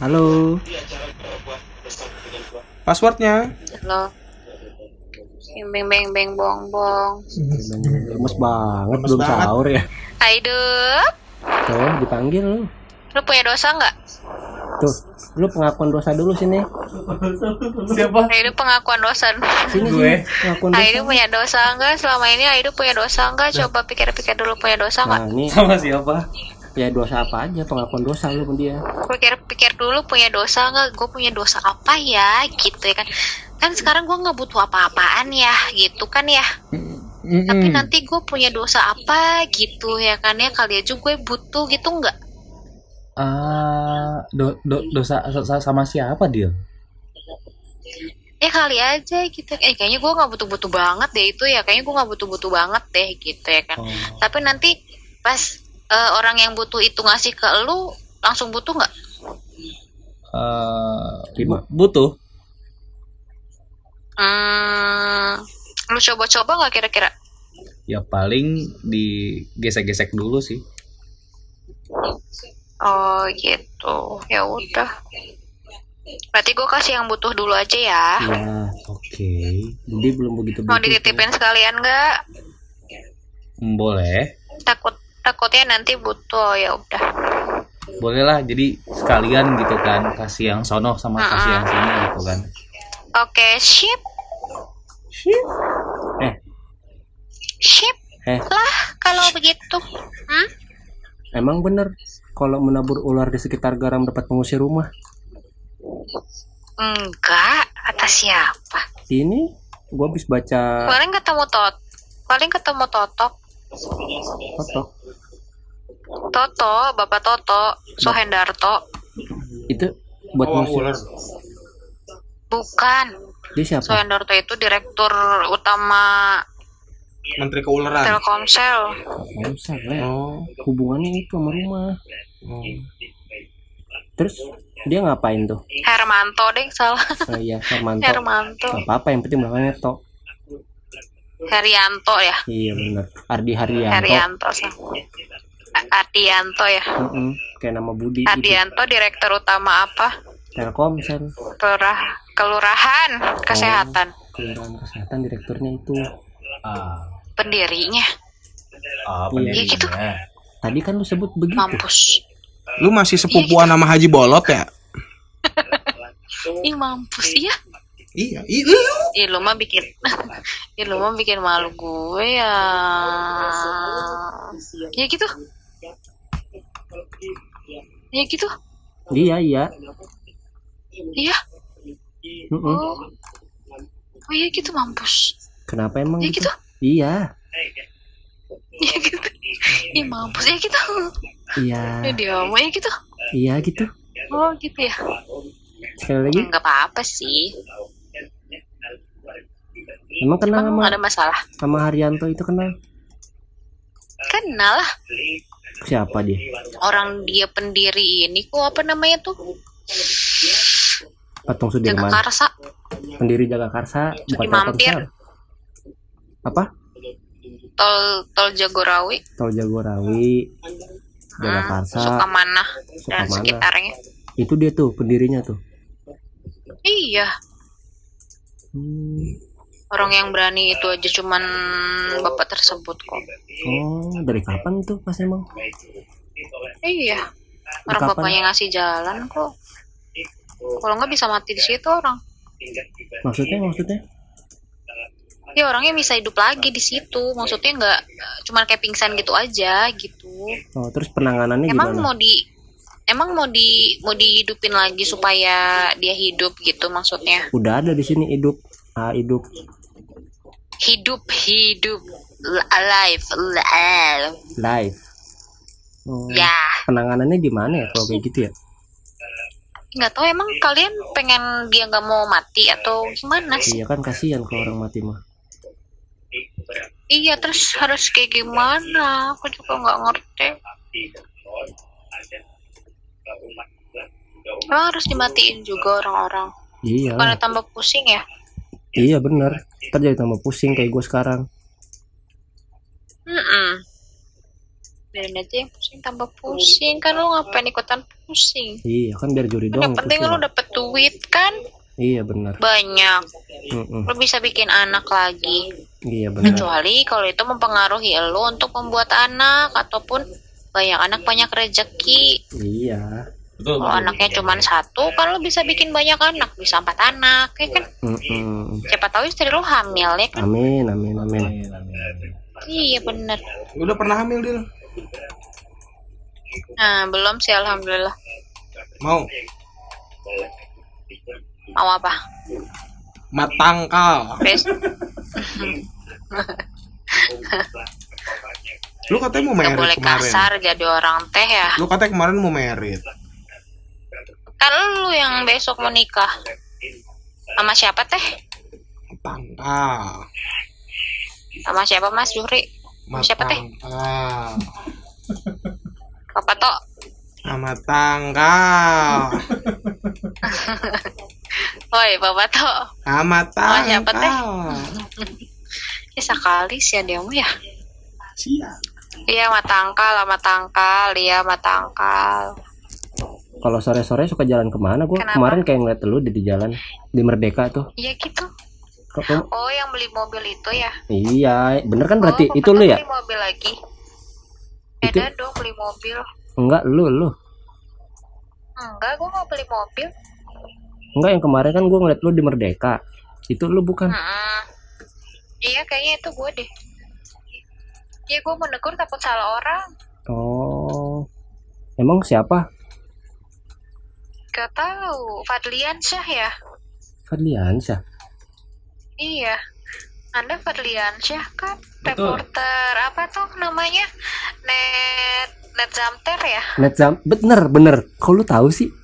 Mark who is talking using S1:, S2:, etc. S1: Halo. Passwordnya?
S2: Halo. Beng beng beng bong bong.
S1: Lemes banget
S3: Lemes
S1: belum
S3: banget.
S1: sahur ya.
S2: Aidup.
S1: Tuh dipanggil lu.
S2: Lu punya dosa nggak?
S1: Tuh, lu pengakuan dosa dulu sini.
S3: Siapa?
S2: Aidup pengakuan dosa.
S1: Sini
S3: Gue.
S1: sini pengakuan dosa.
S2: Aidup punya dosa nggak? Selama ini Aidup punya dosa nggak? Coba pikir-pikir dulu punya dosa nggak?
S1: Nah, ini
S3: Sama siapa?
S1: ya dosa apa aja pengakuan dosa lu sama dia.
S2: Pikir-pikir dulu punya dosa nggak? Gue punya dosa apa ya? Gitu ya kan? Kan sekarang gue nggak butuh apa-apaan ya, gitu kan ya? Tapi
S1: Hmm.
S2: nanti gue punya dosa apa gitu ya kan ya? Kali aja gue butuh gitu nggak?
S3: Ah, do, do, dosa so- so- sama siapa dia?
S2: ya kali aja gitu eh kayaknya gue nggak butuh-butuh banget deh itu ya kayaknya gue nggak butuh-butuh banget deh gitu ya kan tapi nanti pas eh, orang yang butuh itu ngasih ke lu langsung butuh nggak
S1: Terima.
S3: butuh.
S2: hmm, lu coba-coba nggak kira-kira
S3: Ya paling digesek-gesek dulu sih.
S2: oh gitu ya udah berarti gue kasih yang butuh dulu aja ya
S1: Ya,
S3: Oke,
S1: jadi belum begitu
S2: mau
S1: begitu.
S2: dititipin sekalian nggak
S1: Hmm,
S3: boleh.
S2: takut takutnya nanti butuh oh, ya udah
S3: Boleh lah. Jadi sekalian gitu kan, kasih yang sono sama
S2: Ah.
S3: kasih
S1: ya.
S3: yang sini gitu kan.
S2: Hmm. oke sip
S1: Eh,
S2: sip
S1: eh,
S2: lah kalau begitu hmm?
S1: emang bener kalau menabur ular di sekitar garam dapat mengusir rumah.
S2: Enggak, kata siapa?
S1: Ini gua habis baca
S2: Paling ketemu Tot. Paling ketemu Totok.
S1: kotok.
S2: Toto, Bapak Toto, Sohendarto.
S1: Itu buat
S4: Oh,
S1: mengusir.
S2: Bukan.
S1: Dia siapa?
S2: Sohendarto itu direktur utama
S4: Menteri
S2: Ah.
S4: Keuleran.
S2: Telkomsel.
S1: Nggak usah, Le.
S4: Oh.
S1: hubungannya itu sama rumah
S4: oh.
S1: terus dia ngapain tuh
S2: Hermanto deh, salah.
S1: oh, iya Hermanto
S2: Hermanto.
S1: apa apa yang penting belakangnya to
S2: Herianto ya.
S1: iya benar Ardi Haryanto
S2: Herianto. sih. A- Adianto ya.
S1: Mm-mm. kayak nama Budi gitu.
S2: Adianto direktur utama apa?
S1: Telkomsel
S2: Kelurah- Kelurahan Kesehatan.
S1: Kelurahan Kesehatan direkturnya itu
S3: Ah,
S2: Pendirinya.
S3: ah
S1: Iya.
S2: gitu.
S3: pendirinya.
S1: tadi kan lu sebut begitu
S2: Mampus.
S4: Lu masih
S2: Iya,
S4: sepupuan
S2: gitu.
S4: sama Haji Bolot ya?
S2: Ih, mampus. Iya.
S4: Iya. I- lu.
S2: Ih lu mah bikin Ih lu mah bikin malu gue ya Ya gitu Ya gitu
S1: iya iya
S2: Iya
S1: Mm-mm.
S2: Oh Oh iya gitu mampus
S1: kenapa emang
S2: Ya
S1: gitu?
S2: gitu
S1: iya
S2: Ya gitu Ih mampus ya gitu
S1: iya
S2: Ya dia mau ya gitu
S1: iya gitu
S2: Oh gitu ya
S1: sekali lagi
S2: Enggak apa-apa sih
S1: emang kenal sama
S2: Emang ada masalah
S1: sama Haryanto itu kenal
S2: Kenal lah
S1: siapa dia
S2: Orang dia pendiri ini kok apa namanya tuh
S1: Patung
S2: Jaga
S1: Sudirman
S2: Karsa
S1: pendiri Jagakarsa bukan
S2: Mampir.
S1: Telkomsel apa
S2: Tol, tol Jagorawi
S1: Tol Jagorawi
S2: hmm,
S1: Jagakarsa
S2: Sukamana dan
S1: Sukamana.
S2: sekitarnya
S1: itu dia tuh pendirinya tuh
S2: Iya,
S1: Hmm,
S2: orang yang berani itu aja cuman bapak tersebut kok.
S1: oh dari kapan tuh pas emang
S2: Iya, orang
S1: Kapan?
S2: bapaknya ngasih jalan kok. Kalau nggak bisa mati di situ orang.
S1: maksudnya maksudnya
S2: Ya orangnya bisa hidup lagi di situ. Maksudnya nggak cuman kayak pingsan gitu aja gitu.
S1: oh terus penanganannya
S2: Emang
S1: gimana
S2: mau di Emang mau di mau dihidupin lagi supaya dia hidup gitu maksudnya.
S1: udah ada di sini hidup ah hidup
S2: Hidup, hidup, alive, alive.
S1: live oh,
S2: Ya.
S1: penanganannya gimana ya kalau kayak gitu ya
S2: nggak tahu emang kalian pengen dia nggak mau mati atau gimana sih
S1: iya kan kasihan kalau orang mati mah
S2: iya terus harus kayak gimana aku juga nggak ngerti emang harus dimatiin juga orang-orang
S1: iya
S2: karena tambah pusing ya
S1: iya bener ntar jadi tambah pusing kayak gue sekarang
S2: Mm-mm. biarin aja yang pusing tambah pusing kan lu ngapain ikutan pusing
S1: Iya kan biar juri
S2: yang
S1: doang
S2: penting lu
S1: pusing.
S2: dapet duit kan
S1: Iya benar.
S2: banyak
S1: Mm-mm.
S2: lu bisa bikin anak lagi
S1: Iya benar.
S2: kecuali kalau itu mempengaruhi lu untuk membuat anak ataupun banyak anak banyak rezeki
S1: Iya.
S3: Betul.
S4: Oh,
S2: kalau anaknya cuma satu kan lu bisa bikin banyak anak bisa empat anak ya kan
S1: Mm-mm.
S2: siapa tahu istri lu hamil ya kan
S1: Amin amin amin.
S2: iya bener
S4: Udah pernah hamil Dil?
S2: nah belum sih alhamdulillah
S4: Mau
S2: mau apa
S4: matangkal.
S2: Bes
S4: Lu katanya mau
S2: nggak boleh
S4: merit kemarin.
S2: kasar jadi orang teh ya
S4: Lu katanya kemarin mau merit.
S2: kan lu yang besok mau nikah sama siapa teh
S4: Matangkal.
S2: sama siapa mas Yuri Sama siapa teh
S4: Matangkal.
S2: apa toh
S4: Sama tangkal.
S2: Oh, woi bapak toh
S4: Sama
S2: Sama siapa, Teh?
S4: tangkal.
S2: ya sekali sih ya dia mah ya
S4: Siap.
S2: iya matangkal sama tangkal iya matangkal
S1: Kalau sore-sore suka jalan kemana? Gue
S2: Kenapa?
S1: kemarin kayak ngeliat lu di, di jalan di Merdeka tuh.
S2: iya gitu
S1: Kok- kok-
S2: oh yang beli mobil itu ya
S1: Iya, bener kan berarti
S2: Oh, Bapak
S1: itu
S2: Toh
S1: lu ya?
S2: beli mobil lagi
S1: Itu-
S2: beda dong beli mobil
S1: Enggak lu lu.
S2: enggak gua mau beli mobil
S1: Enggak yang kemarin kan gue ngeliat lu di Merdeka. Itu lu bukan?
S2: Mm-mm. Nah. iya kayaknya itu gue deh iya gue menegur takut salah orang
S1: Oh. Emang siapa?
S2: Gak tahu, Fadlian Syah ya?
S1: Fadliansyah.
S2: Iya. Anda Fadlian Syah kan?
S3: Betul.
S2: Reporter apa tuh namanya? Net Net Zamter ya?
S1: Net Zam- bener bener. Kok lu tahu sih?